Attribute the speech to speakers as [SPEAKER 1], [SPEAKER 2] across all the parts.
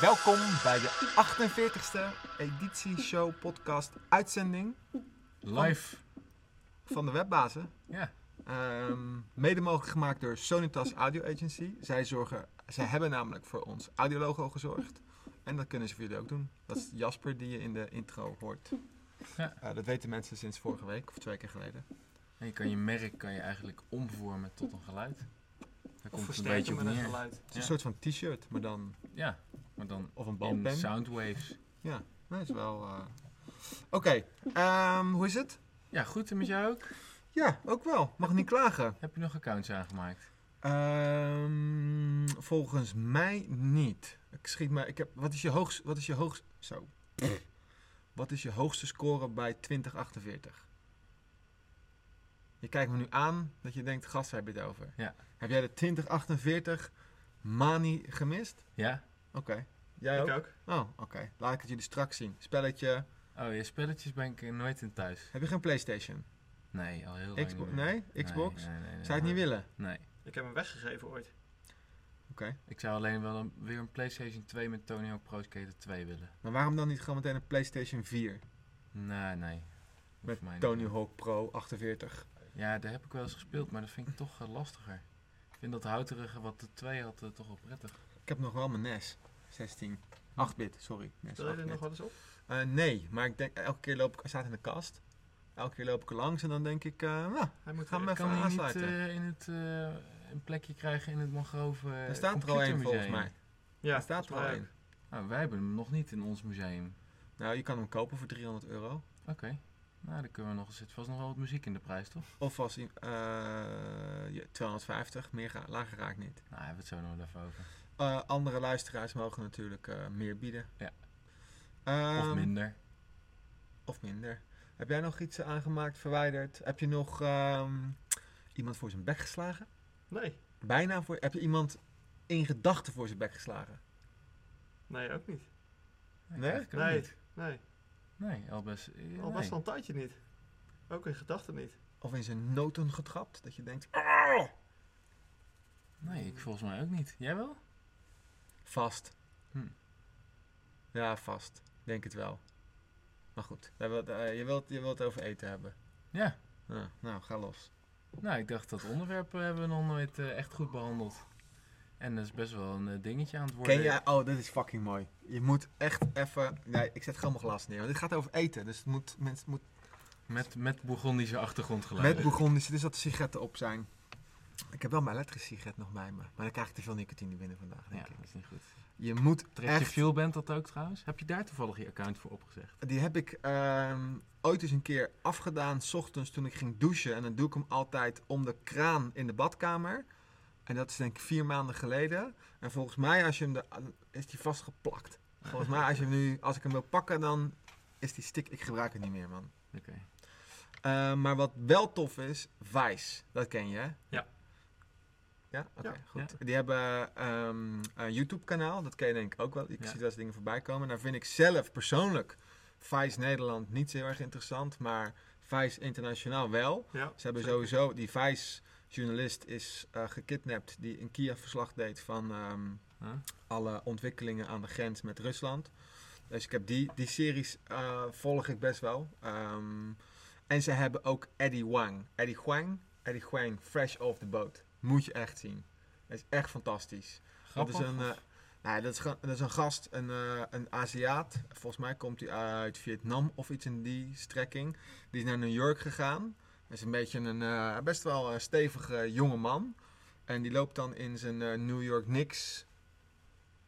[SPEAKER 1] Welkom bij de 48e editie show podcast uitzending
[SPEAKER 2] Live.
[SPEAKER 1] van de webbazen.
[SPEAKER 2] Ja.
[SPEAKER 1] Ehm, mede mogelijk gemaakt door Sonitas Audio Agency. Zij, zorgen, zij hebben namelijk voor ons audiologo gezorgd. En dat kunnen ze voor jullie ook doen. Dat is Jasper die je in de intro hoort.
[SPEAKER 2] Ja.
[SPEAKER 1] Eh, dat weten mensen sinds vorige week of twee keer geleden.
[SPEAKER 2] En je kan je merk kan je eigenlijk omvormen tot een geluid. Daar komt het een beetje op neer.
[SPEAKER 3] geluid.
[SPEAKER 1] Het is
[SPEAKER 2] Ja.
[SPEAKER 1] een soort van t-shirt, maar dan
[SPEAKER 2] Ja, maar dan
[SPEAKER 1] of een
[SPEAKER 2] in
[SPEAKER 1] balpen.
[SPEAKER 2] soundwaves.
[SPEAKER 1] Nee, is wel. eh, Oké, ehm, hoe is het?
[SPEAKER 2] Ja, goed. En met jou ook?
[SPEAKER 1] Ja, ook wel. Mag niet klagen.
[SPEAKER 2] Heb je nog accounts aangemaakt?
[SPEAKER 1] Ehm, volgens mij niet. Ik schiet mij. Ik heb, wat is je hoogst? Wat is je hoogst? Zo. Wat is je hoogste score bij 2048? Je kijkt me nu aan dat je denkt, gast, waar heb je het over?
[SPEAKER 2] Ja.
[SPEAKER 1] Heb jij de 2048 mani gemist?
[SPEAKER 2] Ja?
[SPEAKER 1] Oké. Jij ook?
[SPEAKER 3] Ik ook.
[SPEAKER 1] Oh, oké. Laat ik het jullie straks zien. Spelletje.
[SPEAKER 2] Oh, je spelletjes ben ik er nooit in thuis.
[SPEAKER 1] Heb je geen PlayStation?
[SPEAKER 2] Nee, al heel lang
[SPEAKER 1] Xbox?
[SPEAKER 2] niet meer.
[SPEAKER 1] Nee? Xbox?
[SPEAKER 2] Nee, nee, nee, nee,
[SPEAKER 1] Zou je het niet
[SPEAKER 2] nee.
[SPEAKER 1] willen?
[SPEAKER 2] Nee.
[SPEAKER 3] Ik heb hem weggegeven ooit.
[SPEAKER 1] Oké.
[SPEAKER 2] Ik zou alleen wel een, weer een PlayStation 2 met Tony Hawk Pro Skater 2 willen.
[SPEAKER 1] Maar waarom dan niet gewoon meteen een PlayStation 4?
[SPEAKER 2] Nee, nee. Hoeft
[SPEAKER 1] Met
[SPEAKER 2] voor mij niet.
[SPEAKER 1] Tony Hawk Pro 48.
[SPEAKER 2] Ja, daar heb ik wel eens gespeeld, maar dat vind ik toch eh, lastiger. Ik vind dat houterige wat de 2 had eh, toch wel prettig.
[SPEAKER 1] Ik heb nog wel mijn E NES. 16.
[SPEAKER 2] Hm.
[SPEAKER 1] 8-bit, sorry. E NES
[SPEAKER 3] Speel je er
[SPEAKER 1] 8-bit.
[SPEAKER 3] nog wel eens op?
[SPEAKER 1] Eh, nee, maar ik denk, elke keer loop ik, hij staat in de kast. Elke keer loop ik er langs en dan denk ik, eh, nou,
[SPEAKER 3] Hij moet
[SPEAKER 1] Ga
[SPEAKER 3] weer.
[SPEAKER 1] maar-
[SPEAKER 2] Kan
[SPEAKER 1] Even
[SPEAKER 2] hij niet
[SPEAKER 1] aansluiten.
[SPEAKER 2] eh, in het, eh, een plekje krijgen in het mangrove eh,
[SPEAKER 1] daar staat er al één volgens
[SPEAKER 2] computermuseum?
[SPEAKER 1] mij.
[SPEAKER 3] Ja,
[SPEAKER 1] daar staat er al
[SPEAKER 3] volgens
[SPEAKER 1] één.
[SPEAKER 3] mij
[SPEAKER 2] Nou, wij hebben hem nog niet in ons museum.
[SPEAKER 1] Nou, je kan hem kopen voor 300 euro.
[SPEAKER 2] Oké. Nou, dan kunnen we nog, er zit vast nog wel wat muziek in de prijs, toch?
[SPEAKER 1] Of als hij, eh, je- 250, meer ga- lager raakt niet.
[SPEAKER 2] Nou, hebben we het zo nog wel even over.
[SPEAKER 1] Eh, andere luisteraars mogen natuurlijk eh, meer bieden.
[SPEAKER 2] Ja.
[SPEAKER 1] Ehm,
[SPEAKER 2] of minder.
[SPEAKER 1] Of minder. Heb jij nog iets eh, aangemaakt, verwijderd? Heb je nog ehm, iemand voor zijn bek geslagen?
[SPEAKER 3] Nee,
[SPEAKER 1] Bijna voor. Heb je iemand in gedachten voor zijn bek geslagen?
[SPEAKER 3] nee, ook niet.
[SPEAKER 1] Nee?
[SPEAKER 2] eigenlijk ook
[SPEAKER 3] Nee.
[SPEAKER 2] niet.
[SPEAKER 3] Nee,
[SPEAKER 2] Nee, al best. eh,
[SPEAKER 3] al was
[SPEAKER 2] nee.
[SPEAKER 3] het al een tijdje niet. Ook in gedachten niet.
[SPEAKER 1] Of in zijn noten getrapt? Dat je denkt, "Ah,
[SPEAKER 2] Nee, ik volgens mij ook niet. Jij wel?
[SPEAKER 1] vast.
[SPEAKER 2] Hm.
[SPEAKER 1] Ja, vast. Denk het wel. Maar goed, daar wil- eh, je, wilt, je wilt het over eten hebben.
[SPEAKER 2] Ja.
[SPEAKER 1] Nou, nou, ga los.
[SPEAKER 2] Nou, ik dacht dat onderwerp eh, hebben we nog nooit eh, echt goed behandeld. En dat is best wel een eh, dingetje aan het worden.
[SPEAKER 1] Ken jij? Oh, dit is fucking mooi. Je moet echt even. Nee, ik zet gewoon mijn glas neer. Want dit gaat over eten. Dus het moet, mensen, het
[SPEAKER 2] Met, met Bourgondische achtergrondgeluiden.
[SPEAKER 1] Met Bourgondische, dus dat de sigaretten op zijn. Ik heb wel mijn elektrische sigaret nog bij me. Maar dan krijg ik te veel nicotine binnen vandaag,
[SPEAKER 2] Ja,
[SPEAKER 1] denk ik.
[SPEAKER 2] dat is niet goed.
[SPEAKER 1] Je moet
[SPEAKER 2] Trek je
[SPEAKER 1] echt...
[SPEAKER 2] veel bent dat ook trouwens? Heb je daar toevallig je account voor opgezegd?
[SPEAKER 1] Die heb ik ehm, ooit eens een keer afgedaan, s ochtends toen ik ging douchen. En dan doe ik hem altijd om de kraan in de badkamer. En dat is denk ik vier maanden geleden. En volgens mij als je hem de, is die vastgeplakt. Volgens mij als, je hem nu, als ik hem wil pakken, dan is die stick... Ik gebruik het niet meer, man.
[SPEAKER 2] Oké.
[SPEAKER 1] Eh, maar wat wel tof is, Vice. Dat ken je, hè?
[SPEAKER 3] Ja.
[SPEAKER 1] Ja? Oké,
[SPEAKER 3] Ja.
[SPEAKER 1] goed. Die hebben ehm, een YouTube-kanaal. Dat ken je denk ik ook wel. Ik
[SPEAKER 2] Ja.
[SPEAKER 1] zie wel eens dingen voorbij komen. Daar vind ik zelf persoonlijk Vice Nederland niet zo heel erg interessant. Maar Vice Internationaal wel.
[SPEAKER 3] Ja,
[SPEAKER 1] Ze hebben
[SPEAKER 3] zeker.
[SPEAKER 1] sowieso... Die Vice-journalist is eh, gekidnapt. Die een Kiev-verslag deed van... ehm,
[SPEAKER 2] Huh?
[SPEAKER 1] alle ontwikkelingen aan de grens met Rusland. Dus ik heb die, die series eh, volg ik best wel. Ehm, en ze hebben ook Eddie Wang. Eddie Huang. Eddie Huang, fresh off the boat. Moet je echt zien. Dat is echt fantastisch.
[SPEAKER 2] Grappig.
[SPEAKER 1] dat is een,
[SPEAKER 2] of-
[SPEAKER 1] eh, nou, ja, dat, is, gewoon- dat is een gast, een, eh, een Aziat. Volgens mij komt hij uit Vietnam of iets in die strekking. Die is naar New York gegaan. Dat is een beetje een eh, best wel een stevige eh, jonge man. En die loopt dan in zijn eh, New York Knicks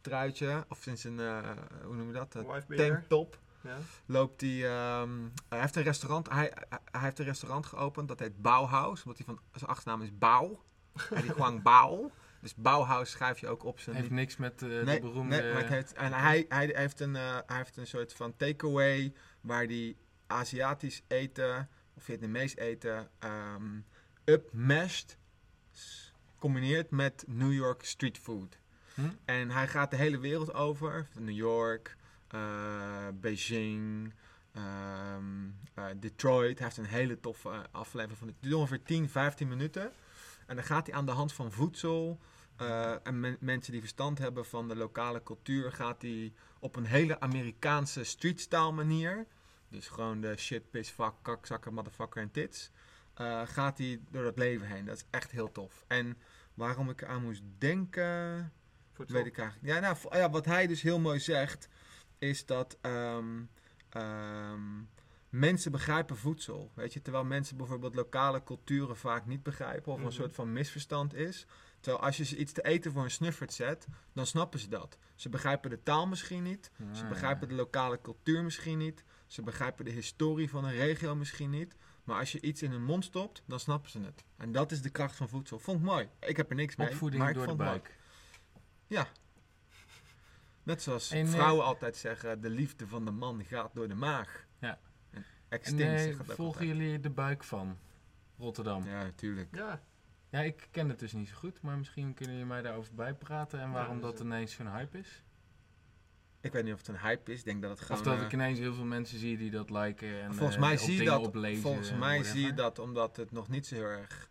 [SPEAKER 1] truitje. Of in zijn, eh, hoe noem je dat? Eh,
[SPEAKER 3] Wife beater.
[SPEAKER 1] Tanktop.
[SPEAKER 3] Ja.
[SPEAKER 1] Loopt hij, ehm, hij heeft een restaurant. Hij, hij- hij heeft een restaurant geopend. Dat heet Bauhaus. Omdat hij van zijn achternaam is Bau. En die Guang Bau. Dus Bauhaus schrijf je ook op zijn.
[SPEAKER 2] heeft niks met eh,
[SPEAKER 1] Nee,
[SPEAKER 2] de beroemde...
[SPEAKER 1] nee, maar het heeft, en hij, hij, heeft een, eh, hij heeft een soort van takeaway waar die Aziatisch eten of Vietnamees eten ehm upmashed s- combineert met New York street food.
[SPEAKER 2] Hm?
[SPEAKER 1] En hij gaat de hele wereld over. Van New York, eh, Beijing, ehm, eh, Detroit. Hij heeft een hele toffe eh, aflevering van het duurt ongeveer 10, 15 minuten. En dan gaat hij aan de hand van voedsel eh, en men- mensen die verstand hebben van de lokale cultuur, gaat die op een hele Amerikaanse streetstyle manier. Dus gewoon de shit, piss, fuck, kak, zakken, motherfucker en tits. eh, gaat die door dat leven heen. Dat is echt heel tof. En waarom ik aan moest denken.
[SPEAKER 3] Voor het
[SPEAKER 1] Weet ik eigenlijk. Ja, nou, vo- ja, wat hij dus heel mooi zegt, is dat ehm, ehm, mensen begrijpen voedsel. Weet je, terwijl mensen bijvoorbeeld lokale culturen vaak niet begrijpen of er
[SPEAKER 3] Mhm.
[SPEAKER 1] een soort van misverstand is. Terwijl als je ze iets te eten voor een snuffert zet, dan snappen ze dat. Ze begrijpen de taal misschien niet,
[SPEAKER 2] eh, Ah,
[SPEAKER 1] ze begrijpen de lokale cultuur misschien niet, ze begrijpen de historie van een regio misschien niet. Maar als je iets in hun mond stopt, dan snappen ze het. En dat is de kracht van voedsel. Vond ik mooi. Ik heb er niks mee.
[SPEAKER 2] Opvoeding
[SPEAKER 1] maar ik
[SPEAKER 2] door de
[SPEAKER 1] vond het mooi.
[SPEAKER 2] buik.
[SPEAKER 1] Net zoals
[SPEAKER 2] En, eh,
[SPEAKER 1] vrouwen altijd zeggen, de liefde van de man gaat door de maag.
[SPEAKER 2] Ja.
[SPEAKER 1] En
[SPEAKER 2] En eh,
[SPEAKER 1] Extinct
[SPEAKER 2] nee,
[SPEAKER 1] zegt dat ook
[SPEAKER 2] volgen
[SPEAKER 1] altijd.
[SPEAKER 2] jullie de buik van Rotterdam? Ja.
[SPEAKER 1] Ja, natuurlijk.
[SPEAKER 3] Ja,
[SPEAKER 2] ik ken het dus niet zo goed, maar misschien kunnen jullie mij daarover bijpraten en
[SPEAKER 3] Ja,
[SPEAKER 2] waarom
[SPEAKER 3] dus,
[SPEAKER 2] dat
[SPEAKER 3] eh,
[SPEAKER 2] ineens zo'n hype is.
[SPEAKER 1] Ik weet niet of het een hype is. Ik denk dat het gewoon...
[SPEAKER 2] Of dat
[SPEAKER 1] eh,
[SPEAKER 2] ik ineens heel veel mensen zie die dat liken en
[SPEAKER 1] volgens
[SPEAKER 2] eh,
[SPEAKER 1] mij
[SPEAKER 2] op
[SPEAKER 1] zie je
[SPEAKER 2] dingen
[SPEAKER 1] dat,
[SPEAKER 2] oplezen
[SPEAKER 1] volgens
[SPEAKER 2] en
[SPEAKER 1] mij
[SPEAKER 2] whatever.
[SPEAKER 1] zie je dat omdat het nog niet zo heel erg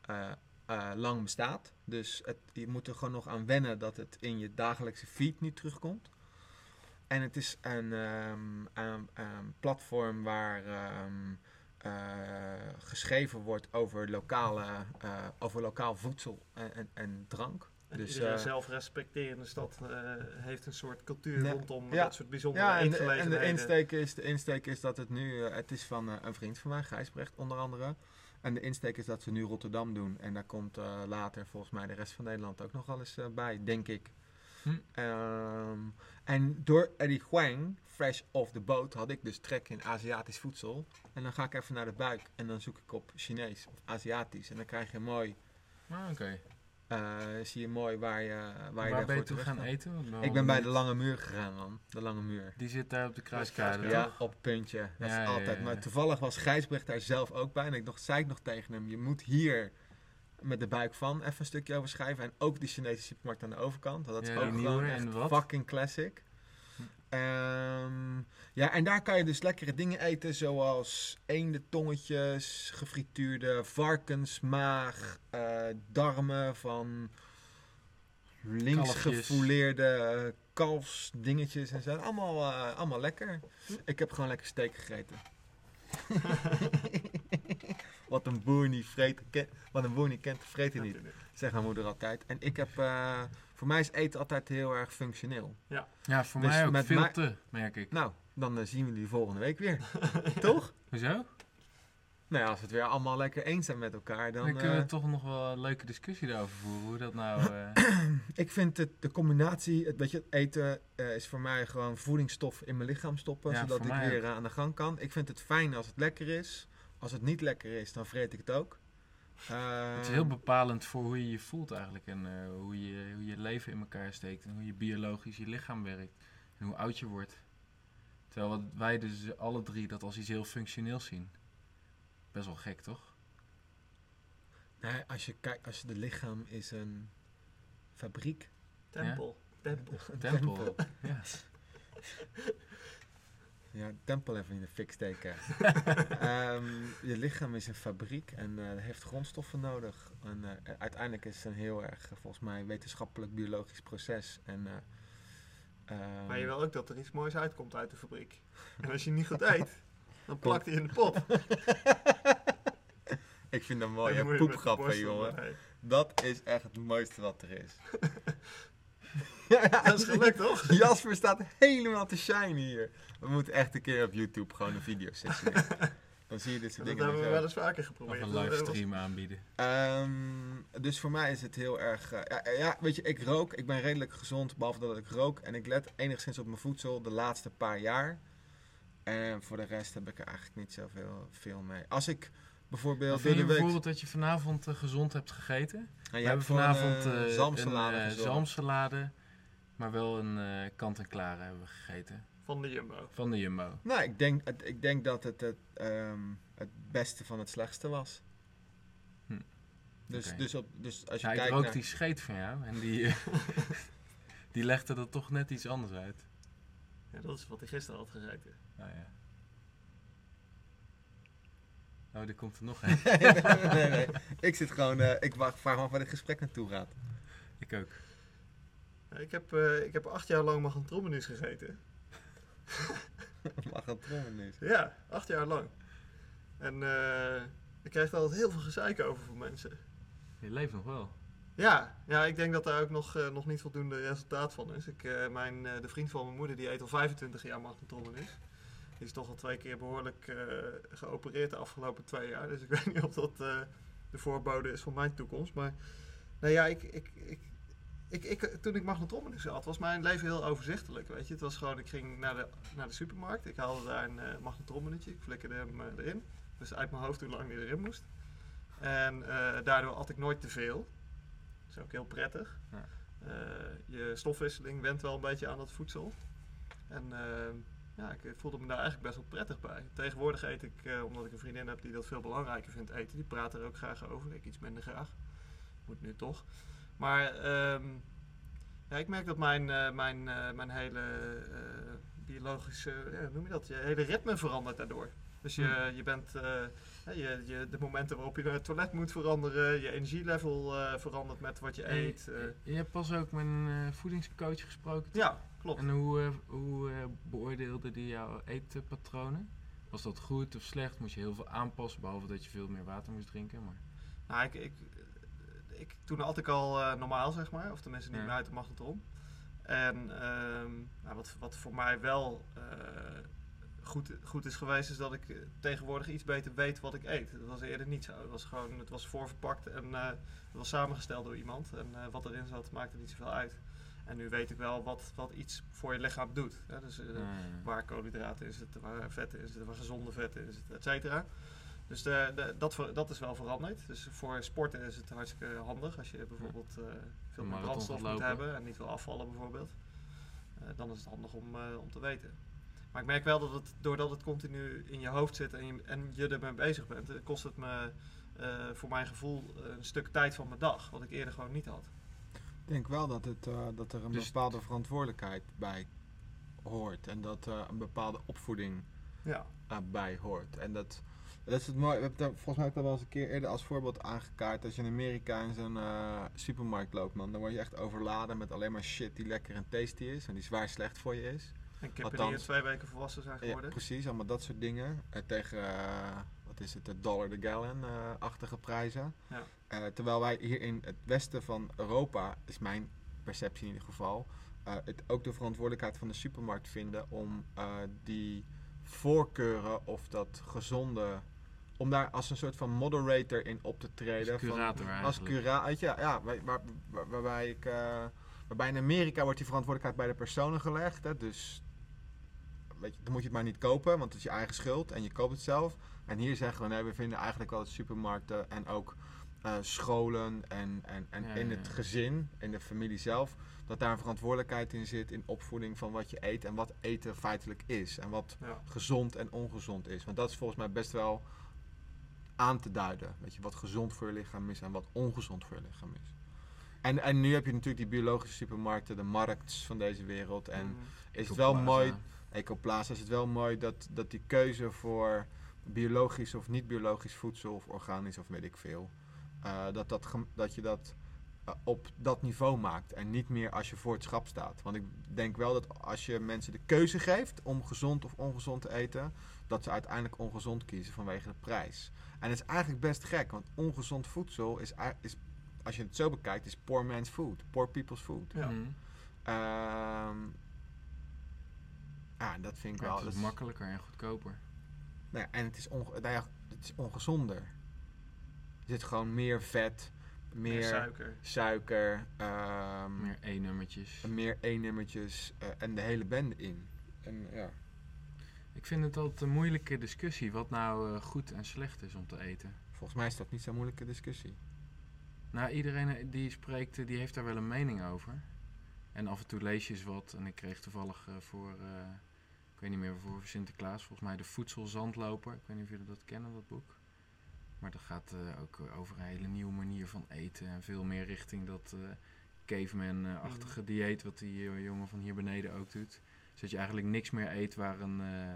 [SPEAKER 1] eh, eh, lang bestaat. Dus het, je moet er gewoon nog aan wennen dat het in je dagelijkse feed niet terugkomt. En het is een, ehm, een- een platform waar ehm, eh, geschreven wordt over, lokale, eh, over lokaal voedsel en, en, en drank.
[SPEAKER 3] en
[SPEAKER 1] Dus,
[SPEAKER 3] iedere
[SPEAKER 1] eh,
[SPEAKER 3] zelfrespecterende stad eh, heeft een soort cultuur
[SPEAKER 1] Ja,
[SPEAKER 3] rondom
[SPEAKER 1] ja.
[SPEAKER 3] dat soort bijzondere
[SPEAKER 1] Ja, en de, en de,
[SPEAKER 3] eetgelegenheden.
[SPEAKER 1] insteek is, de insteek is dat het nu... eh, het is van eh, een vriend van mij, Gijsbrecht onder andere. En de insteek is dat ze nu Rotterdam doen. En daar komt eh, later volgens mij de rest van Nederland ook nog wel eens eh, bij, denk ik.
[SPEAKER 2] Hm.
[SPEAKER 1] Ehm, en door Eddie Huang, fresh off the boat, had ik dus trek in Aziatisch voedsel. En dan ga ik even naar de buik en dan zoek ik op Chinees of Aziatisch. En dan krijg je mooi,
[SPEAKER 2] Ah, oké.
[SPEAKER 1] eh, zie je mooi waar je eh, waar je
[SPEAKER 2] Waar ben je
[SPEAKER 1] daarvoor
[SPEAKER 2] toe
[SPEAKER 1] terecht
[SPEAKER 2] gaan
[SPEAKER 1] kan.
[SPEAKER 2] eten? Want wel
[SPEAKER 1] Ik ben bij de
[SPEAKER 2] benieuwd.
[SPEAKER 1] Lange Muur gegaan, man. De Lange Muur.
[SPEAKER 2] Die zit daar op de kruiskade.
[SPEAKER 3] Ja,
[SPEAKER 1] Ja,
[SPEAKER 2] toch?
[SPEAKER 1] op het puntje. Dat
[SPEAKER 2] Ja,
[SPEAKER 1] is
[SPEAKER 2] ja,
[SPEAKER 1] altijd.
[SPEAKER 2] ja, ja.
[SPEAKER 1] Maar toevallig was Gijsbrecht daar zelf ook bij. En ik nog, zei ik nog tegen hem, je moet hier met de buik van even een stukje over schrijven. En ook die Chinese supermarkt aan de overkant. Want dat
[SPEAKER 2] Ja,
[SPEAKER 1] is
[SPEAKER 2] die
[SPEAKER 1] ook
[SPEAKER 2] nieuwe
[SPEAKER 1] gewoon
[SPEAKER 2] en
[SPEAKER 1] echt
[SPEAKER 2] wat?
[SPEAKER 1] fucking classic. Ehm, ja, en daar kan je dus lekkere dingen eten. Zoals eendentongetjes, gefrituurde varkensmaag, eh, darmen van links
[SPEAKER 2] Kalfjes.
[SPEAKER 1] gefouleerde eh, kalfsdingetjes en zo. Allemaal, eh, allemaal lekker. Ik heb gewoon lekker steak gegeten. Wat een boer niet vreet, ken- wat een boer niet kent, vreet hij niet,
[SPEAKER 3] Natuurlijk.
[SPEAKER 1] zegt mijn moeder altijd. En ik heb, eh, voor mij is eten altijd heel erg functioneel.
[SPEAKER 2] Ja, voor
[SPEAKER 1] Dus
[SPEAKER 2] mij ook
[SPEAKER 1] met
[SPEAKER 2] veel
[SPEAKER 1] mij-
[SPEAKER 2] te, merk ik.
[SPEAKER 1] Nou, dan eh, zien we jullie volgende week weer. Toch?
[SPEAKER 2] Hoezo?
[SPEAKER 1] Nou ja, als we het weer allemaal lekker eens zijn met elkaar, dan...
[SPEAKER 2] Dan, kunnen we
[SPEAKER 1] eh,
[SPEAKER 2] toch nog wel een leuke discussie daarover voeren. Hoe dat nou. eh,
[SPEAKER 1] ik vind het, de combinatie, het, weet je, eten eh, is voor mij gewoon voedingsstof in mijn lichaam stoppen,
[SPEAKER 2] Ja,
[SPEAKER 1] zodat
[SPEAKER 2] voor
[SPEAKER 1] ik
[SPEAKER 2] mij
[SPEAKER 1] weer
[SPEAKER 2] ook.
[SPEAKER 1] eh, aan de gang kan. Ik vind het fijn als het lekker is. Als het niet lekker is, dan vreet ik het ook.
[SPEAKER 2] het is
[SPEAKER 1] Ehm,
[SPEAKER 2] heel bepalend voor hoe je je voelt eigenlijk. En eh, hoe, je, hoe je leven in elkaar steekt. En hoe je biologisch je lichaam werkt. En hoe oud je wordt. Terwijl wat wij dus alle drie dat als iets heel functioneels zien. Best wel gek, toch?
[SPEAKER 1] Nee, Nou, als je kijkt, als je de lichaam is een fabriek.
[SPEAKER 3] Tempel. Tempel.
[SPEAKER 1] Een
[SPEAKER 2] Tempel. ja.
[SPEAKER 1] Ja, tempel even in de fik steken. Ehm, je lichaam is een fabriek en eh, heeft grondstoffen nodig. En eh, uiteindelijk is het een heel erg, eh, volgens mij, wetenschappelijk biologisch proces. En, eh, ehm,
[SPEAKER 3] Maar je wil ook dat er iets moois uitkomt uit de fabriek. En als je niet goed eet, dan plakt hij in de
[SPEAKER 1] Oh,
[SPEAKER 3] pot.
[SPEAKER 1] Ik vind dat
[SPEAKER 3] Dan
[SPEAKER 1] mooi. hè,
[SPEAKER 3] moet je met de
[SPEAKER 1] Poepgrappen,
[SPEAKER 3] borstel
[SPEAKER 1] jongen.
[SPEAKER 3] erbij.
[SPEAKER 1] Dat is echt het mooiste wat er is.
[SPEAKER 3] Dat is gelukt, toch?
[SPEAKER 1] Jasper staat helemaal te shine hier. We moeten echt een keer op YouTube gewoon een video sessie doen. Dan zie je dit soort
[SPEAKER 3] Dat
[SPEAKER 1] dingen.
[SPEAKER 3] hebben we
[SPEAKER 1] zo.
[SPEAKER 3] wel eens vaker
[SPEAKER 2] Of
[SPEAKER 3] geprobeerd.
[SPEAKER 2] een livestream aanbieden.
[SPEAKER 1] Ehm, dus voor mij is het heel erg. eh, ja, ja, weet je, ik rook. Ik ben redelijk gezond, behalve dat ik rook. En ik let enigszins op mijn voedsel de laatste paar jaar. En voor de rest heb ik er eigenlijk niet zoveel veel mee. Als ik bijvoorbeeld.
[SPEAKER 2] Vind
[SPEAKER 1] door
[SPEAKER 2] je
[SPEAKER 1] de week-
[SPEAKER 2] bijvoorbeeld dat je vanavond eh, gezond hebt gegeten?
[SPEAKER 1] Nou, jij
[SPEAKER 2] We hebben
[SPEAKER 1] hebt voor
[SPEAKER 2] vanavond
[SPEAKER 1] een, eh,
[SPEAKER 2] eh,
[SPEAKER 1] zalmsalade
[SPEAKER 2] een eh,
[SPEAKER 1] gezorgd.
[SPEAKER 2] zalmsalade, maar wel een eh, kant-en-klare hebben we gegeten.
[SPEAKER 3] Van de Jumbo.
[SPEAKER 2] Van de Jumbo.
[SPEAKER 1] Nou, ik denk, het- ik denk dat het het, ehm, het beste van het slechtste was.
[SPEAKER 2] Hm.
[SPEAKER 1] Dus,
[SPEAKER 2] Oké.
[SPEAKER 1] dus, op, dus als je
[SPEAKER 2] Ja, ik
[SPEAKER 1] kijkt
[SPEAKER 2] rook
[SPEAKER 1] naar...
[SPEAKER 2] die scheet van jou en die, eh, die legde er toch net iets anders uit.
[SPEAKER 3] Ja, dat is wat hij gisteren had gegeten.
[SPEAKER 2] Nou ja. Oh, er komt er nog een.
[SPEAKER 1] nee, nee, nee. Ik zit gewoon... eh, ik wacht, vraag me af waar dit gesprek naartoe gaat.
[SPEAKER 2] Ik ook.
[SPEAKER 3] Ik heb, eh, ik heb acht jaar lang mag een trommelnieuws gegeten.
[SPEAKER 1] Mag een trommelnieuws.
[SPEAKER 3] Ja, acht jaar lang. En eh, ik krijg daar altijd heel veel gezeik over van mensen.
[SPEAKER 2] Je leeft nog wel.
[SPEAKER 3] Ja, ja ik denk dat daar ook nog, eh, nog niet voldoende resultaat van is. Ik, eh, mijn, eh, de vriend van mijn moeder die eet al 25 jaar magnetronnenis. Die is toch al twee keer behoorlijk eh, geopereerd de afgelopen twee jaar. Dus ik weet niet of dat eh, de voorbode is van mijn toekomst. Maar nou ja, ik, ik, ik, ik, ik- toen ik magnetronnenis had, was mijn leven heel overzichtelijk. Weet je? Het was gewoon, ik ging naar de, naar de supermarkt. Ik haalde daar een eh magnetronmenetje. Ik flikkerde hem eh, erin. Dus uit mijn hoofd hoe lang die erin moest. En eh, daardoor had ik nooit te veel. Dat is ook heel prettig.
[SPEAKER 2] Ja.
[SPEAKER 3] Eh, je stofwisseling went wel een beetje aan dat voedsel. En eh, ja, ik voelde me daar eigenlijk best wel prettig bij. Tegenwoordig eet ik, eh, omdat ik een vriendin heb die dat veel belangrijker vindt eten, die praat er ook graag over. Ik iets minder graag. Moet nu toch. Maar ehm, ja, ik merk dat mijn, eh, mijn, eh, mijn hele eh, biologische, ja, hoe noem je dat, je hele ritme verandert daardoor. Dus je,
[SPEAKER 2] Hmm.
[SPEAKER 3] je bent, eh, hè, je, je, de momenten waarop je naar het toilet moet veranderen, je energielevel eh, verandert met wat je
[SPEAKER 2] Hey,
[SPEAKER 3] eet. eh.
[SPEAKER 2] Je hebt pas ook met een eh, voedingscoach gesproken. toch?
[SPEAKER 3] ja, klopt.
[SPEAKER 2] En hoe, eh, hoe eh, beoordeelde die jouw eetpatronen? Was dat goed of slecht? Moest je heel veel aanpassen, behalve dat je veel meer water moest drinken. Maar
[SPEAKER 3] Nou, ik, ik, ik toen had ik al eh, normaal, zeg maar. Of tenminste niet
[SPEAKER 2] Ja.
[SPEAKER 3] meer uit de magnetron. En ehm, nou, wat, wat voor mij wel eh, goed, goed is geweest, is dat ik eh, tegenwoordig iets beter weet wat ik eet. Dat was eerder niet zo. Het was gewoon, het was voorverpakt en eh, het was samengesteld door iemand. En eh, wat erin zat, maakte niet zoveel uit. En nu weet ik wel wat, wat iets voor je lichaam doet. Hè? Dus, eh,
[SPEAKER 2] eh,
[SPEAKER 3] waar koolhydraten in zitten, waar vetten in zitten, waar gezonde vetten in zitten, et cetera. Dus de, de- dat, ver- dat is wel veranderd. Dus voor sporten is het hartstikke handig als je bijvoorbeeld eh, veel meer
[SPEAKER 2] marathon
[SPEAKER 3] brandstof
[SPEAKER 2] gaat
[SPEAKER 3] moet
[SPEAKER 2] lopen.
[SPEAKER 3] hebben en niet wil afvallen bijvoorbeeld. Eh, dan is het handig om, eh, om te weten. Maar ik merk wel dat het, doordat het continu in je hoofd zit en je, en je ermee bezig bent, eh, kost het me eh, voor mijn gevoel een stuk tijd van mijn dag, wat ik eerder gewoon niet had.
[SPEAKER 1] Ik denk wel dat, het, eh, dat er een
[SPEAKER 2] Dus-
[SPEAKER 1] bepaalde verantwoordelijkheid bij hoort. En dat eh, een bepaalde opvoeding
[SPEAKER 3] Ja,
[SPEAKER 1] eh, bij hoort. En dat, dat is het mooie. We hebben daar- volgens mij heb ik dat wel eens een keer eerder als voorbeeld aangekaart. Als je in Amerika in zo'n eh, supermarkt loopt, man, dan word je echt overladen met alleen maar shit die lekker en tasty is. En die zwaar slecht voor je is.
[SPEAKER 3] en kippen die in
[SPEAKER 1] Althans-
[SPEAKER 3] twee weken volwassen zijn
[SPEAKER 1] Ja,
[SPEAKER 3] geworden.
[SPEAKER 1] precies, allemaal dat soort dingen. Eh, tegen, eh, wat is het, de dollar the gallon-achtige prijzen.
[SPEAKER 3] Ja.
[SPEAKER 1] Eh, terwijl wij hier in het westen van Europa, is mijn perceptie in ieder geval, eh, het ook de verantwoordelijkheid van de supermarkt vinden om eh, die voorkeuren of dat gezonde, om daar als een soort van moderator in op te treden.
[SPEAKER 2] als
[SPEAKER 1] van-
[SPEAKER 2] curator
[SPEAKER 1] als
[SPEAKER 2] eigenlijk.
[SPEAKER 1] cura, weet je, ja, ja, waar, waar- waar- waarbij ik, eh, waarbij in Amerika wordt die verantwoordelijkheid bij de personen gelegd. Hè, dus weet je, dan moet je het maar niet kopen, want het is je eigen schuld en je koopt het zelf. En hier zeggen we, nee, we vinden eigenlijk wel dat supermarkten en ook eh, scholen en, en, en
[SPEAKER 2] Ja,
[SPEAKER 1] in
[SPEAKER 2] ja,
[SPEAKER 1] het
[SPEAKER 2] ja.
[SPEAKER 1] gezin, in de familie zelf, dat daar een verantwoordelijkheid in zit in opvoeding van wat je eet en wat eten feitelijk is. En wat
[SPEAKER 3] Ja.
[SPEAKER 1] gezond en ongezond is. Want dat is volgens mij best wel aan te duiden. Weet je, wat gezond voor je lichaam is en wat ongezond voor je lichaam is. En, en nu heb je natuurlijk die biologische supermarkten, de markts van deze wereld. En
[SPEAKER 3] Mm.
[SPEAKER 1] is het wel
[SPEAKER 2] Ecoplaza.
[SPEAKER 1] mooi, Ecoplaza, is het wel mooi dat, dat die keuze voor biologisch of niet-biologisch voedsel of organisch of weet ik veel, eh, dat, dat, gem- dat je dat eh, op dat niveau maakt en niet meer als je voor het schap staat. Want ik denk wel dat als je mensen de keuze geeft om gezond of ongezond te eten, dat ze uiteindelijk ongezond kiezen vanwege de prijs. En dat is eigenlijk best gek, want ongezond voedsel is, ei- is als je het zo bekijkt, is poor man's food, poor people's food.
[SPEAKER 3] Ja.
[SPEAKER 2] Mhm.
[SPEAKER 1] Ehm ja, dus- dat vind ik
[SPEAKER 2] Ja,
[SPEAKER 1] wel.
[SPEAKER 2] het
[SPEAKER 1] dat
[SPEAKER 2] is
[SPEAKER 1] is-
[SPEAKER 2] makkelijker en goedkoper.
[SPEAKER 1] nou ja, en het is, onge- nou ja, het is ongezonder. Er zit gewoon meer vet, meer,
[SPEAKER 3] meer
[SPEAKER 1] suiker,
[SPEAKER 3] suiker.
[SPEAKER 1] ehm,
[SPEAKER 2] Meer E-nummertjes.
[SPEAKER 1] meer E-nummertjes eh, en de hele bende in. En, ja.
[SPEAKER 2] Ik vind het altijd een moeilijke discussie wat nou eh, goed en slecht is om te eten.
[SPEAKER 1] Volgens mij is dat niet zo'n moeilijke discussie.
[SPEAKER 2] Nou, iedereen eh, die spreekt, eh, die heeft daar wel een mening over. En af en toe lees je eens wat. En ik kreeg toevallig eh, voor, eh, ik weet niet meer, voor Sinterklaas, volgens mij de voedselzandloper. Ik weet niet of jullie dat kennen, dat boek. Maar dat gaat eh, ook eh, over een hele nieuwe manier van eten. En veel meer richting dat eh, caveman-achtige dieet, wat die eh, jongen van hier beneden ook doet. Dus dat je eigenlijk niks meer eet waar een eh,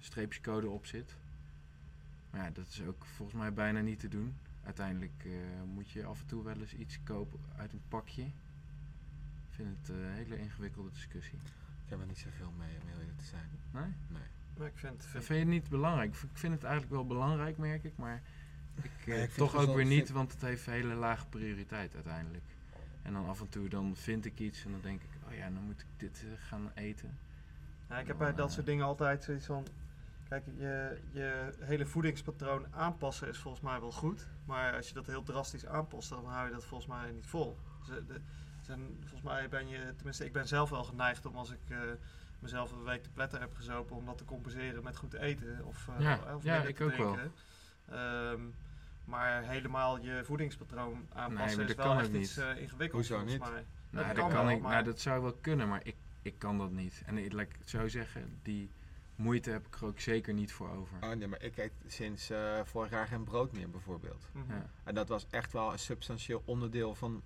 [SPEAKER 2] streepjescode op zit. Maar ja, dat is ook volgens mij bijna niet te doen. Uiteindelijk eh, moet je af en toe wel eens iets kopen uit een pakje. vind het eh, een hele ingewikkelde discussie.
[SPEAKER 1] Ik heb er niet zoveel mee, om heel eerlijk te zijn.
[SPEAKER 2] Nee?
[SPEAKER 1] Nee.
[SPEAKER 3] Maar ik vind,
[SPEAKER 2] Dat
[SPEAKER 3] vind-
[SPEAKER 2] vind je niet belangrijk. Ik vind het eigenlijk wel belangrijk, merk ik, maar ik, eh,
[SPEAKER 1] ik vind
[SPEAKER 2] toch ook
[SPEAKER 1] gezond-
[SPEAKER 2] weer niet,
[SPEAKER 1] vind-
[SPEAKER 2] want het heeft hele lage prioriteit uiteindelijk. En dan af en toe dan vind ik iets en dan denk ik, oh ja, dan moet ik dit eh, gaan eten.
[SPEAKER 3] Ja, ik heb bij dat soort dingen altijd zoiets van. Kijk, je, je hele voedingspatroon aanpassen is volgens mij wel goed. Maar als je dat heel drastisch aanpast, dan hou je dat volgens mij niet vol. Dus, eh, de- zijn, volgens mij ben je, tenminste, ik ben zelf wel geneigd om als ik eh, mezelf een week de pletter heb gezopen, om dat te compenseren met goed eten. Of, eh,
[SPEAKER 2] Ja,
[SPEAKER 3] of
[SPEAKER 2] ja,
[SPEAKER 3] minder
[SPEAKER 2] ik
[SPEAKER 3] te
[SPEAKER 2] ook wel.
[SPEAKER 3] drinken. Ehm, maar helemaal je voedingspatroon aanpassen
[SPEAKER 2] maar
[SPEAKER 3] is
[SPEAKER 2] dat
[SPEAKER 3] wel
[SPEAKER 2] kan
[SPEAKER 3] echt
[SPEAKER 2] ook
[SPEAKER 3] iets
[SPEAKER 2] niet.
[SPEAKER 3] eh, ingewikkelds
[SPEAKER 1] Hoezo
[SPEAKER 3] volgens
[SPEAKER 1] niet?
[SPEAKER 3] mij. dat
[SPEAKER 2] Nou, dat,
[SPEAKER 3] kan
[SPEAKER 2] kan
[SPEAKER 3] wel,
[SPEAKER 2] ik,
[SPEAKER 3] maar-
[SPEAKER 2] nou, dat zou wel kunnen, maar ik, ik kan dat niet. En ik, laat ik het zo zeggen, die moeite heb ik er ook zeker niet voor over.
[SPEAKER 1] Oh nee, maar ik eet sinds eh, vorig jaar geen brood meer bijvoorbeeld.
[SPEAKER 3] Mhm.
[SPEAKER 2] Ja,
[SPEAKER 1] En dat was echt wel een substantieel onderdeel van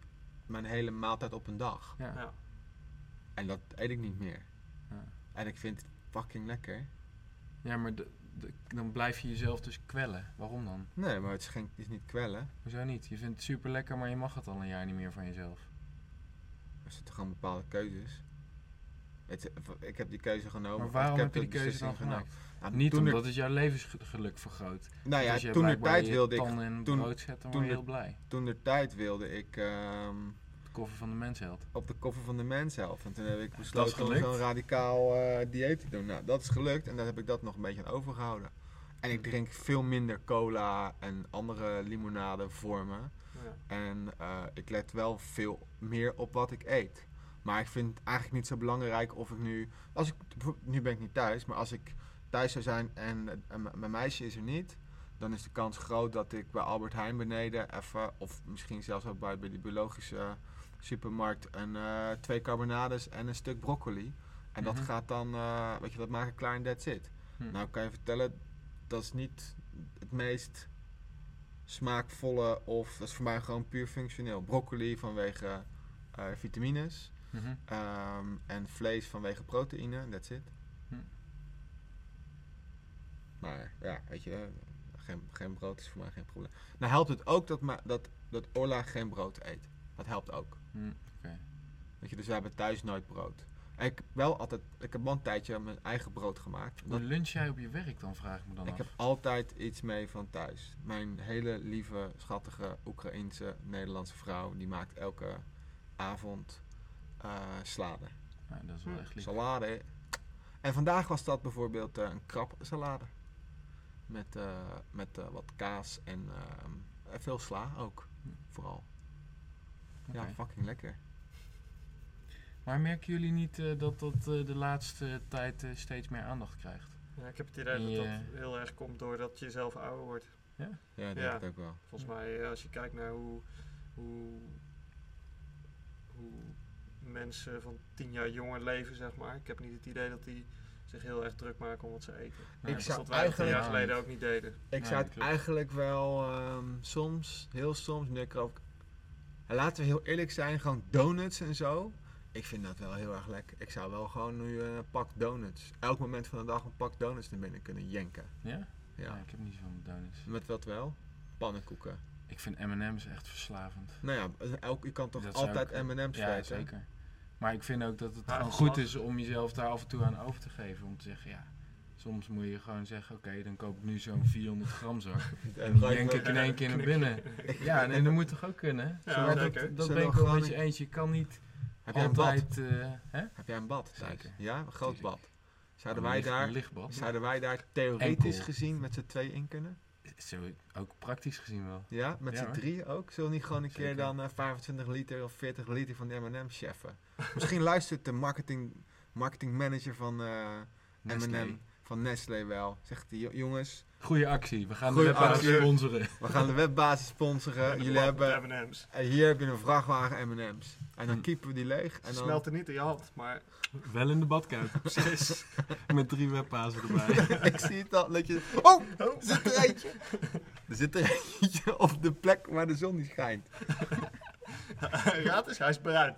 [SPEAKER 1] mijn hele maaltijd op een dag.
[SPEAKER 2] ja,
[SPEAKER 3] Ja.
[SPEAKER 1] En dat eet ik niet meer.
[SPEAKER 2] ja.
[SPEAKER 1] En ik vind het fucking lekker.
[SPEAKER 2] Ja, maar de- de- dan blijf je jezelf dus kwellen. Waarom dan?
[SPEAKER 1] Nee, maar het is, geen, het is niet kwellen.
[SPEAKER 2] Hoezo niet? Je vindt het super lekker, maar je mag het al een jaar niet meer van jezelf.
[SPEAKER 1] Er zitten gewoon bepaalde keuzes. Het- ik heb die keuze genomen.
[SPEAKER 2] Maar
[SPEAKER 1] of
[SPEAKER 2] waarom
[SPEAKER 1] Oh, ik
[SPEAKER 2] heb je
[SPEAKER 1] de
[SPEAKER 2] die keuze dan
[SPEAKER 1] beslissing genomen.
[SPEAKER 2] gemaakt?
[SPEAKER 1] Nou,
[SPEAKER 2] Niet
[SPEAKER 1] toen
[SPEAKER 2] omdat het jouw levensgeluk vergroot.
[SPEAKER 1] er, nou ja,
[SPEAKER 2] Dus je
[SPEAKER 1] toen de
[SPEAKER 2] blijkbaar
[SPEAKER 1] tijd
[SPEAKER 2] je
[SPEAKER 1] wilde ik,
[SPEAKER 2] tanden in het
[SPEAKER 1] toen-
[SPEAKER 2] brood zetten,
[SPEAKER 1] toen
[SPEAKER 2] word je
[SPEAKER 1] de-
[SPEAKER 2] heel blij.
[SPEAKER 1] toen de tijd wilde ik ehm,
[SPEAKER 2] De koffer van de mens helpt.
[SPEAKER 1] op de koffer van de mens zelf. En toen heb ik besloten om
[SPEAKER 2] gelukt.
[SPEAKER 1] zo'n radicaal eh, dieet te doen. Nou, dat is gelukt en daar heb ik dat nog een beetje aan overgehouden. En ik drink veel minder cola en andere limonadevormen.
[SPEAKER 3] Ja.
[SPEAKER 1] En eh, ik let wel veel meer op wat ik eet. Maar ik vind het eigenlijk niet zo belangrijk of ik nu. Als ik, bijvoorbeeld- nu ben ik niet thuis, maar als ik thuis zou zijn en, eh, en m- mijn meisje is er niet. Dan is de kans groot dat ik bij Albert Heijn beneden even, of misschien zelfs ook bij, bij die biologische supermarkt, een, eh, twee carbonades en een stuk broccoli. En dat
[SPEAKER 2] Mhm.
[SPEAKER 1] gaat dan, eh, weet je, dat maak ik klaar en that's it.
[SPEAKER 2] Hm.
[SPEAKER 1] Nou, ik kan je vertellen, dat is niet het meest smaakvolle of dat is voor mij gewoon puur functioneel. Broccoli vanwege eh, vitamines
[SPEAKER 2] Mhm.
[SPEAKER 1] ehm, en vlees vanwege proteïne, that's it.
[SPEAKER 2] Hm.
[SPEAKER 1] Maar ja, weet je, eh, geen, geen brood is voor mij geen probleem. Nou helpt het ook dat, ma- dat, dat Orla geen brood eet. Dat helpt ook.
[SPEAKER 2] Hm, Oké.
[SPEAKER 1] Weet je, dus we hebben thuis nooit brood. En ik, wel altijd, ik heb wel een tijdje mijn eigen brood gemaakt.
[SPEAKER 2] Hoe lunch jij op je werk dan, vraag ik me dan
[SPEAKER 1] Ik
[SPEAKER 2] af.
[SPEAKER 1] heb altijd iets mee van thuis. Mijn hele lieve, schattige Oekraïense Nederlandse vrouw, die maakt elke avond eh, salade.
[SPEAKER 2] Nou, dat is wel
[SPEAKER 3] Hm.
[SPEAKER 2] echt lief.
[SPEAKER 1] Salade. En vandaag was dat bijvoorbeeld eh, een krab salade. Met, eh, met eh, wat kaas en ehm, eh, veel sla ook,
[SPEAKER 2] Hm.
[SPEAKER 1] vooral.
[SPEAKER 2] Oké.
[SPEAKER 1] Ja, fucking lekker.
[SPEAKER 2] Maar merken jullie niet eh, dat dat eh, de laatste tijd eh, steeds meer aandacht krijgt?
[SPEAKER 3] Ja, ik heb het idee dat
[SPEAKER 2] Die, eh,
[SPEAKER 3] dat heel erg komt doordat je zelf ouder wordt.
[SPEAKER 1] Ja, ik denk
[SPEAKER 3] Ja.
[SPEAKER 1] het ook wel.
[SPEAKER 3] Volgens mij, eh, als je kijkt naar hoe, hoe, hoe mensen van tien jaar jonger leven, zeg maar. Ik heb niet het idee dat die zich heel erg druk maken om wat ze eten.
[SPEAKER 2] Nee,
[SPEAKER 1] Ik
[SPEAKER 3] Dus
[SPEAKER 1] zou
[SPEAKER 3] dat wij dat tien jaar
[SPEAKER 2] eigenlijk-
[SPEAKER 3] geleden ook niet deden.
[SPEAKER 1] Ik
[SPEAKER 2] Nee,
[SPEAKER 1] zou het
[SPEAKER 2] klopt.
[SPEAKER 1] eigenlijk wel ehm, soms, heel soms, nu ik er ook- En Laten we heel eerlijk zijn, gewoon donuts en zo. Ik vind dat wel heel erg lekker. Ik zou wel gewoon nu een pak donuts, elk moment van de dag een pak donuts naar binnen kunnen jenken.
[SPEAKER 2] Ja?
[SPEAKER 1] Ja.
[SPEAKER 2] Nee, ik heb niet zoveel met donuts.
[SPEAKER 1] Met wat wel? Pannenkoeken.
[SPEAKER 2] Ik vind M&M's echt verslavend.
[SPEAKER 1] Nou ja, elk, je kan toch
[SPEAKER 2] Dat zou
[SPEAKER 1] altijd
[SPEAKER 2] ik, eh,
[SPEAKER 1] M&M's
[SPEAKER 2] Ja,
[SPEAKER 1] vreten?
[SPEAKER 2] zeker. Maar ik vind ook dat het
[SPEAKER 3] Ja,
[SPEAKER 2] gewoon
[SPEAKER 3] geslag.
[SPEAKER 2] goed is om jezelf daar af en toe aan over te geven. Om te zeggen, ja, soms moet je gewoon zeggen, oké, dan koop ik nu zo'n 400 gram zak. En die
[SPEAKER 1] gooi
[SPEAKER 2] denk
[SPEAKER 1] wel-
[SPEAKER 2] ik in één keer naar binnen. Ja, en, en dat moet toch ook kunnen?
[SPEAKER 3] Ja,
[SPEAKER 2] maar
[SPEAKER 3] zeker.
[SPEAKER 2] dat, dat
[SPEAKER 1] Zullen
[SPEAKER 2] ben
[SPEAKER 1] we
[SPEAKER 2] ik wel met je
[SPEAKER 1] gewoon-
[SPEAKER 2] eentje. Je kan niet
[SPEAKER 1] Heb jij een bad?
[SPEAKER 2] altijd... eh, hè?
[SPEAKER 1] Heb jij een bad thuis?
[SPEAKER 2] Zeker.
[SPEAKER 1] Ja, een groot
[SPEAKER 2] Tuurlijk.
[SPEAKER 1] bad. Zouden
[SPEAKER 2] Een
[SPEAKER 1] wij,
[SPEAKER 2] licht-
[SPEAKER 1] daar,
[SPEAKER 2] Een lichtbad.
[SPEAKER 1] zouden wij daar theoretisch
[SPEAKER 2] Enkel.
[SPEAKER 1] gezien met z'n twee in kunnen?
[SPEAKER 2] Zo, ook praktisch gezien wel.
[SPEAKER 1] Ja, met
[SPEAKER 2] Ja,
[SPEAKER 1] z'n
[SPEAKER 2] hoor.
[SPEAKER 1] drie ook. Zullen we niet gewoon een keer
[SPEAKER 2] Zeker.
[SPEAKER 1] dan eh, 25 liter of 40 liter van de M&M cheffen? Misschien luistert de marketing, marketing manager van eh,
[SPEAKER 2] Nestlé.
[SPEAKER 1] M&M, van Nestlé wel. Zegt die "Jo- jongens,
[SPEAKER 2] Goeie actie. We gaan
[SPEAKER 1] Goeie
[SPEAKER 2] de webbasis
[SPEAKER 1] actie.
[SPEAKER 2] sponsoren.
[SPEAKER 1] we gaan de webbasis sponsoren. Jullie hebben,
[SPEAKER 3] M&M's.
[SPEAKER 1] en hier heb je een vrachtwagen M&M's. En dan
[SPEAKER 2] Hm.
[SPEAKER 1] kiepen we die leeg. En
[SPEAKER 3] Ze
[SPEAKER 1] dan,
[SPEAKER 3] smelten niet in je hand, maar
[SPEAKER 2] Wel in de badkuip. Precies. Met drie webpazen erbij.
[SPEAKER 1] ik zie het al, dat je, oh, er zit er eentje. Er zit er eentje op de plek waar de zon niet schijnt.
[SPEAKER 3] raad eens, hij is bruin.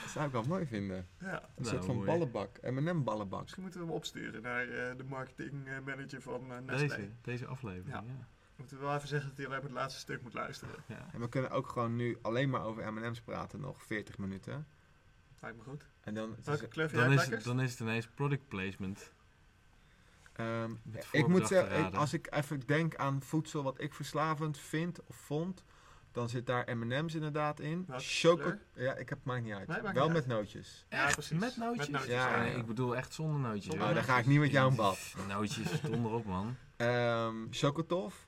[SPEAKER 1] Dat zou ik wel mooi vinden. Een
[SPEAKER 3] Ja.
[SPEAKER 2] Nou,
[SPEAKER 1] soort van
[SPEAKER 2] mooi.
[SPEAKER 1] ballenbak, M&M ballenbak.
[SPEAKER 3] Misschien moeten we hem opsturen naar eh, de marketingmanager van eh, Nestlé.
[SPEAKER 2] Deze, deze aflevering. Ja.
[SPEAKER 3] Moeten we wel even zeggen dat hij alleen maar het laatste stuk moet luisteren.
[SPEAKER 2] Ja.
[SPEAKER 1] En we kunnen ook gewoon nu alleen maar over M&M's praten, nog 40 minuten.
[SPEAKER 3] Lijkt me goed.
[SPEAKER 1] En dan, het is,
[SPEAKER 3] Welke kleur vind jij
[SPEAKER 2] Dan,
[SPEAKER 3] het
[SPEAKER 2] is het,
[SPEAKER 3] lekkerst?
[SPEAKER 2] dan is het ineens product placement.
[SPEAKER 1] ehm,
[SPEAKER 2] Met
[SPEAKER 1] ik moet
[SPEAKER 2] voorbedachte
[SPEAKER 1] zeggen, ik-
[SPEAKER 2] raden.
[SPEAKER 1] als ik even denk aan voedsel wat ik verslavend vind of vond, dan zit daar M&M's inderdaad in.
[SPEAKER 3] Welke
[SPEAKER 1] Choco- Ja, ik heb, maakt niet uit.
[SPEAKER 3] Nee, maakt
[SPEAKER 1] Wel
[SPEAKER 3] niet
[SPEAKER 1] met nootjes.
[SPEAKER 3] Ja,
[SPEAKER 2] Echt?
[SPEAKER 3] precies.
[SPEAKER 2] Met nootjes?
[SPEAKER 3] Met nootjes,
[SPEAKER 1] Ja,
[SPEAKER 2] Ja,
[SPEAKER 1] ja.
[SPEAKER 2] Ik bedoel echt zonder nootjes.
[SPEAKER 3] Zonder
[SPEAKER 1] Oh,
[SPEAKER 2] hoor.
[SPEAKER 1] dan ga ik niet met jou in bad.
[SPEAKER 2] Jezus, Nootjes, donder op man.
[SPEAKER 1] Ehm chocotof,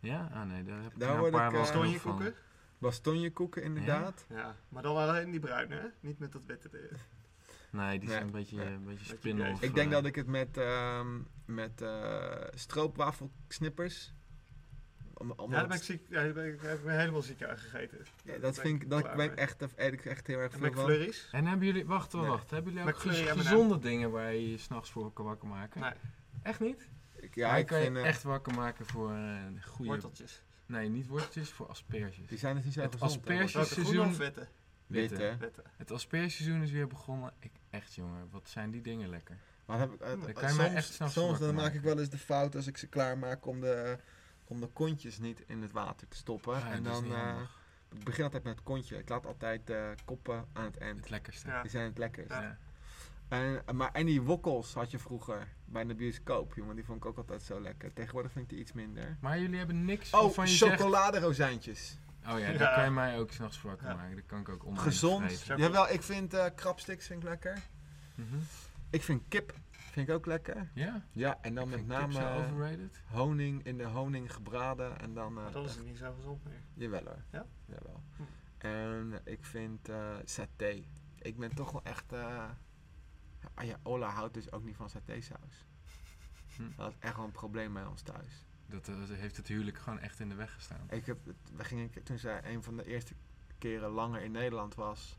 [SPEAKER 2] Ja, ah nee, daar heb ik
[SPEAKER 1] Daar
[SPEAKER 2] nou een
[SPEAKER 1] word
[SPEAKER 2] paar
[SPEAKER 1] ik,
[SPEAKER 2] wel
[SPEAKER 1] eh,
[SPEAKER 2] veel
[SPEAKER 3] Bastonje
[SPEAKER 2] van.
[SPEAKER 3] koeken?
[SPEAKER 1] bastonjekoeken inderdaad.
[SPEAKER 3] Ja, maar dan alleen die bruine, hè? Niet met dat witte. eh,
[SPEAKER 2] Nee, die
[SPEAKER 1] Nee,
[SPEAKER 2] zijn een beetje,
[SPEAKER 1] nee.
[SPEAKER 2] een beetje
[SPEAKER 3] Beetje
[SPEAKER 2] spindel.
[SPEAKER 3] gay.
[SPEAKER 2] of,
[SPEAKER 1] Ik denk
[SPEAKER 2] eh,
[SPEAKER 1] dat ik het met, ehm met eh stroopwafelsnippers... Om, om
[SPEAKER 3] Ja, daar ben ik ziek. Ja, daar, ben ik, daar heb ik me helemaal ziek aan gegeten.
[SPEAKER 1] Ja, dat vind ik, dat ben ik echt, daar eet ik echt heel erg
[SPEAKER 3] En
[SPEAKER 1] veel van.
[SPEAKER 3] McFlurries?
[SPEAKER 2] En hebben jullie, wacht, wacht,
[SPEAKER 1] Nee.
[SPEAKER 2] wacht. Hebben jullie ook
[SPEAKER 3] McFlurry
[SPEAKER 2] gez-
[SPEAKER 3] M&M.
[SPEAKER 2] gezonde dingen waar je je s'nachts voor kan wakker maken?
[SPEAKER 3] Nee,
[SPEAKER 2] Echt niet?
[SPEAKER 1] Ik- Ja,
[SPEAKER 2] Maar
[SPEAKER 1] ik
[SPEAKER 2] kan
[SPEAKER 1] vind,
[SPEAKER 2] je
[SPEAKER 1] eh,
[SPEAKER 2] echt wakker maken voor een goede...
[SPEAKER 3] worteltjes.
[SPEAKER 2] Nee, niet worteltjes, voor asperges.
[SPEAKER 1] die zijn dus niet zo
[SPEAKER 2] Het
[SPEAKER 1] gezond. hè,
[SPEAKER 2] asperges-
[SPEAKER 1] want-
[SPEAKER 3] Welke groene
[SPEAKER 2] seizoen-
[SPEAKER 3] of witte?
[SPEAKER 1] Witte.
[SPEAKER 2] Witte.
[SPEAKER 3] Witte.
[SPEAKER 2] Het aspergeseizoen is weer begonnen. Ik, echt jongen, wat zijn die dingen lekker.
[SPEAKER 1] Maar dan heb ik, eh,
[SPEAKER 3] Dan
[SPEAKER 1] eh,
[SPEAKER 2] kan je mij
[SPEAKER 1] soms,
[SPEAKER 2] echt s'nachts
[SPEAKER 1] soms
[SPEAKER 2] wakker
[SPEAKER 1] dan maak
[SPEAKER 2] maken.
[SPEAKER 1] ik wel eens de fout als ik ze klaarmaak om de, eh, om de kontjes niet in het water te stoppen.
[SPEAKER 2] Ja,
[SPEAKER 1] en
[SPEAKER 2] dat is
[SPEAKER 1] dan
[SPEAKER 2] niet
[SPEAKER 1] eh,
[SPEAKER 2] handig.
[SPEAKER 1] ik begin altijd met het kontje. Ik laat altijd de koppen aan het eind.
[SPEAKER 2] het lekkerste.
[SPEAKER 3] Ja.
[SPEAKER 1] Die zijn het lekkerst.
[SPEAKER 3] Ja.
[SPEAKER 1] En, eh, maar en die wokkels had je vroeger bij de bioscoop, jongen. Die vond ik ook altijd zo lekker. Tegenwoordig vind ik die iets minder.
[SPEAKER 2] Maar jullie hebben niks
[SPEAKER 1] Oh,
[SPEAKER 2] waarvan je zegt...
[SPEAKER 1] chocoladerozijntjes.
[SPEAKER 2] Oh ja, daar
[SPEAKER 3] Ja.
[SPEAKER 2] kan je mij ook s'nachts voor wakker
[SPEAKER 3] Ja.
[SPEAKER 2] maken. Dat kan ik ook online
[SPEAKER 1] Gezond.
[SPEAKER 2] vreten.
[SPEAKER 3] Chocola-
[SPEAKER 1] Jawel, ik vind eh krabsticks vind ik lekker.
[SPEAKER 2] Mhm.
[SPEAKER 1] Ik vind kip vind ik ook lekker.
[SPEAKER 2] Ja?
[SPEAKER 1] Ja, en dan met
[SPEAKER 2] Vind ik kip
[SPEAKER 1] name
[SPEAKER 2] zo
[SPEAKER 1] eh,
[SPEAKER 2] overrated.
[SPEAKER 1] honing in de honing gebraden en dan... eh,
[SPEAKER 3] Maar dan is het niet zo gezond meer.
[SPEAKER 1] Jawel hoor.
[SPEAKER 3] Ja?
[SPEAKER 1] Jawel.
[SPEAKER 3] Hm.
[SPEAKER 1] En ik vind eh saté. Ik ben toch wel echt... eh ah ja, Ola houdt dus ook niet van satésaus.
[SPEAKER 2] Hm.
[SPEAKER 1] Dat is echt wel een probleem bij ons thuis.
[SPEAKER 2] Dat eh, heeft het huwelijk gewoon echt in de weg gestaan.
[SPEAKER 1] Ik heb, het- we gingen, een keer- toen zij een van de eerste keren langer in Nederland was,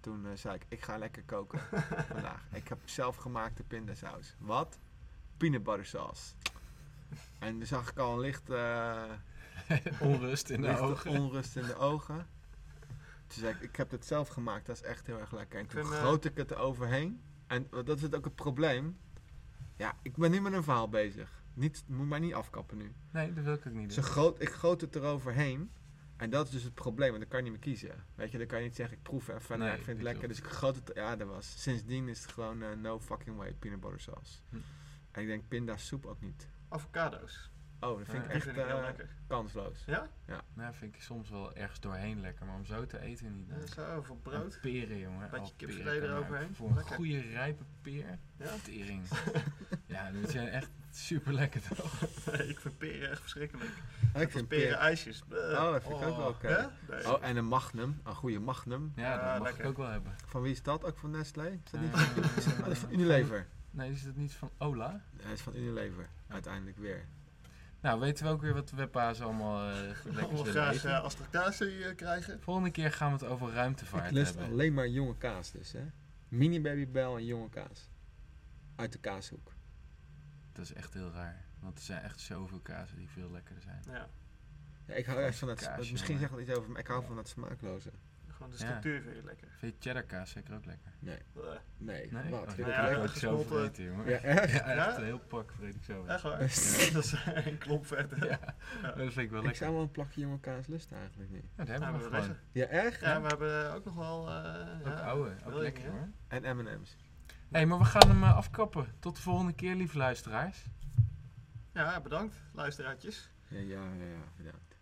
[SPEAKER 1] toen eh, zei ik, ik ga lekker koken vandaag. Ik heb zelfgemaakte pindasaus. Wat? Peanut butter sauce. En dan zag ik al een licht, eh,
[SPEAKER 2] Onrust in de
[SPEAKER 1] lichte
[SPEAKER 2] ogen.
[SPEAKER 1] onrust in de ogen. Toen zei ik, ik heb het zelf gemaakt, dat is echt heel erg lekker. En
[SPEAKER 3] Ik
[SPEAKER 1] toen
[SPEAKER 3] vind, eh,
[SPEAKER 1] goot ik het eroverheen. En eh, dat is het ook het probleem. Ja, ik ben nu met een verhaal bezig. Niet, moet mij niet afkappen nu.
[SPEAKER 2] Nee, dat wil ik ook niet
[SPEAKER 1] Ze
[SPEAKER 2] doen.
[SPEAKER 1] groot, ik goot het eroverheen. En dat is dus het probleem, want dan kan je niet meer kiezen. Weet je, dan kan je niet zeggen, ik proef even en
[SPEAKER 2] Nee,
[SPEAKER 1] ik vind het
[SPEAKER 2] dat
[SPEAKER 1] lekker.
[SPEAKER 2] klopt.
[SPEAKER 1] Dus ik goot het, ja, dat was. Sindsdien is het gewoon eh, no fucking way peanut butter sauce.
[SPEAKER 2] Hm.
[SPEAKER 1] En ik denk pindasoep ook niet.
[SPEAKER 3] Avocado's.
[SPEAKER 1] Oh, dat vind
[SPEAKER 2] Ja,
[SPEAKER 1] ik
[SPEAKER 3] Die
[SPEAKER 1] echt
[SPEAKER 3] vind ik heel
[SPEAKER 1] eh,
[SPEAKER 3] lekker.
[SPEAKER 1] kansloos.
[SPEAKER 3] Ja?
[SPEAKER 2] Nou, vind ik soms wel ergens doorheen lekker, maar om zo te eten niet.
[SPEAKER 3] Ja,
[SPEAKER 2] nee.
[SPEAKER 3] Zo, voor brood.
[SPEAKER 2] En peren, jongen.
[SPEAKER 3] Beetje
[SPEAKER 2] Oh, peren
[SPEAKER 3] kipfilet
[SPEAKER 2] kan
[SPEAKER 3] eroverheen.
[SPEAKER 2] ook. Voor een
[SPEAKER 3] Lekker.
[SPEAKER 2] goede rijpe peer.
[SPEAKER 3] Ja?
[SPEAKER 2] Tering. ja, dat zijn echt super lekker toch?
[SPEAKER 3] Nee, ik vind peren echt verschrikkelijk.
[SPEAKER 1] Oh,
[SPEAKER 3] Ik
[SPEAKER 1] ik
[SPEAKER 3] vind
[SPEAKER 1] vind
[SPEAKER 3] peren
[SPEAKER 1] peren.
[SPEAKER 3] ijsjes. Bleh.
[SPEAKER 1] Oh, dat vind ik ook wel
[SPEAKER 2] Oh.
[SPEAKER 1] oké.
[SPEAKER 3] Ja? Nee.
[SPEAKER 1] Oh, en een magnum. Een goede magnum.
[SPEAKER 2] Ja, dat
[SPEAKER 3] Ja,
[SPEAKER 2] mag
[SPEAKER 3] lekker.
[SPEAKER 2] ik ook wel hebben.
[SPEAKER 1] Van wie is dat? Ook van Nestlé? Is dat niet
[SPEAKER 2] Eh,
[SPEAKER 1] van, oh, dat is van Unilever?
[SPEAKER 2] Nee, is dat niet van Ola?
[SPEAKER 1] Nee, dat is van Unilever. Uiteindelijk weer.
[SPEAKER 2] Nou, weten we ook weer wat webpa's allemaal eh voor lekkers
[SPEAKER 3] Allemaal
[SPEAKER 2] willen
[SPEAKER 3] graag
[SPEAKER 2] eten.
[SPEAKER 3] uh, astractase eh, krijgen.
[SPEAKER 2] Volgende keer gaan we het over
[SPEAKER 1] Ik
[SPEAKER 2] ruimtevaart
[SPEAKER 1] lust
[SPEAKER 2] hebben.
[SPEAKER 1] alleen maar jonge kaas dus, hè. Mini babybel en jonge kaas. Uit de kaashoek.
[SPEAKER 2] Dat is echt heel raar. Want er zijn echt zoveel kazen die veel lekkerder zijn.
[SPEAKER 3] Ja,
[SPEAKER 1] Ja, ik hou echt van dat...
[SPEAKER 2] Kaasje,
[SPEAKER 1] misschien
[SPEAKER 2] maar-
[SPEAKER 1] zegt dat iets over, maar ik hou
[SPEAKER 2] Ja.
[SPEAKER 1] van dat smaakloze.
[SPEAKER 3] gewoon de
[SPEAKER 2] Ja.
[SPEAKER 3] structuur vind je lekker.
[SPEAKER 2] Vind je cheddar kaas zeker ook lekker?
[SPEAKER 1] Nee.
[SPEAKER 3] Bleh.
[SPEAKER 1] Nee,
[SPEAKER 2] Nee?
[SPEAKER 1] wat?
[SPEAKER 2] Oh,
[SPEAKER 1] Vind
[SPEAKER 2] dat
[SPEAKER 1] ik
[SPEAKER 3] ja,
[SPEAKER 2] heb ik
[SPEAKER 1] leuk?
[SPEAKER 2] ook zo
[SPEAKER 3] gesmolten-
[SPEAKER 2] vergeten, jongen.
[SPEAKER 1] Ja, echt?
[SPEAKER 2] Ja, echt
[SPEAKER 3] Ja?
[SPEAKER 2] een heel pak vreet ik zo.
[SPEAKER 3] Echt waar?
[SPEAKER 1] Ja.
[SPEAKER 3] dat is een klomp verder.
[SPEAKER 2] Ja, dat vind ik wel
[SPEAKER 1] Ik
[SPEAKER 2] lekker.
[SPEAKER 1] zou wel een plakje jonge kaas lusten eigenlijk niet.
[SPEAKER 2] Ja, dat hebben
[SPEAKER 3] Ja,
[SPEAKER 2] we
[SPEAKER 3] maar dat
[SPEAKER 2] nog
[SPEAKER 3] is
[SPEAKER 2] gewoon.
[SPEAKER 1] Ja, echt?
[SPEAKER 3] Ja, we hebben eh, ook nog wel... eh,
[SPEAKER 2] Ook
[SPEAKER 3] ja,
[SPEAKER 2] oude, ook
[SPEAKER 3] wil je
[SPEAKER 2] lekker
[SPEAKER 3] niet, hè?
[SPEAKER 2] hoor.
[SPEAKER 1] En M&M's.
[SPEAKER 2] Hé, maar we gaan hem eh, afkappen. Tot de volgende keer, lieve luisteraars.
[SPEAKER 3] Ja, bedankt luisteraartjes.
[SPEAKER 1] Ja, ja, ja, ja, bedankt.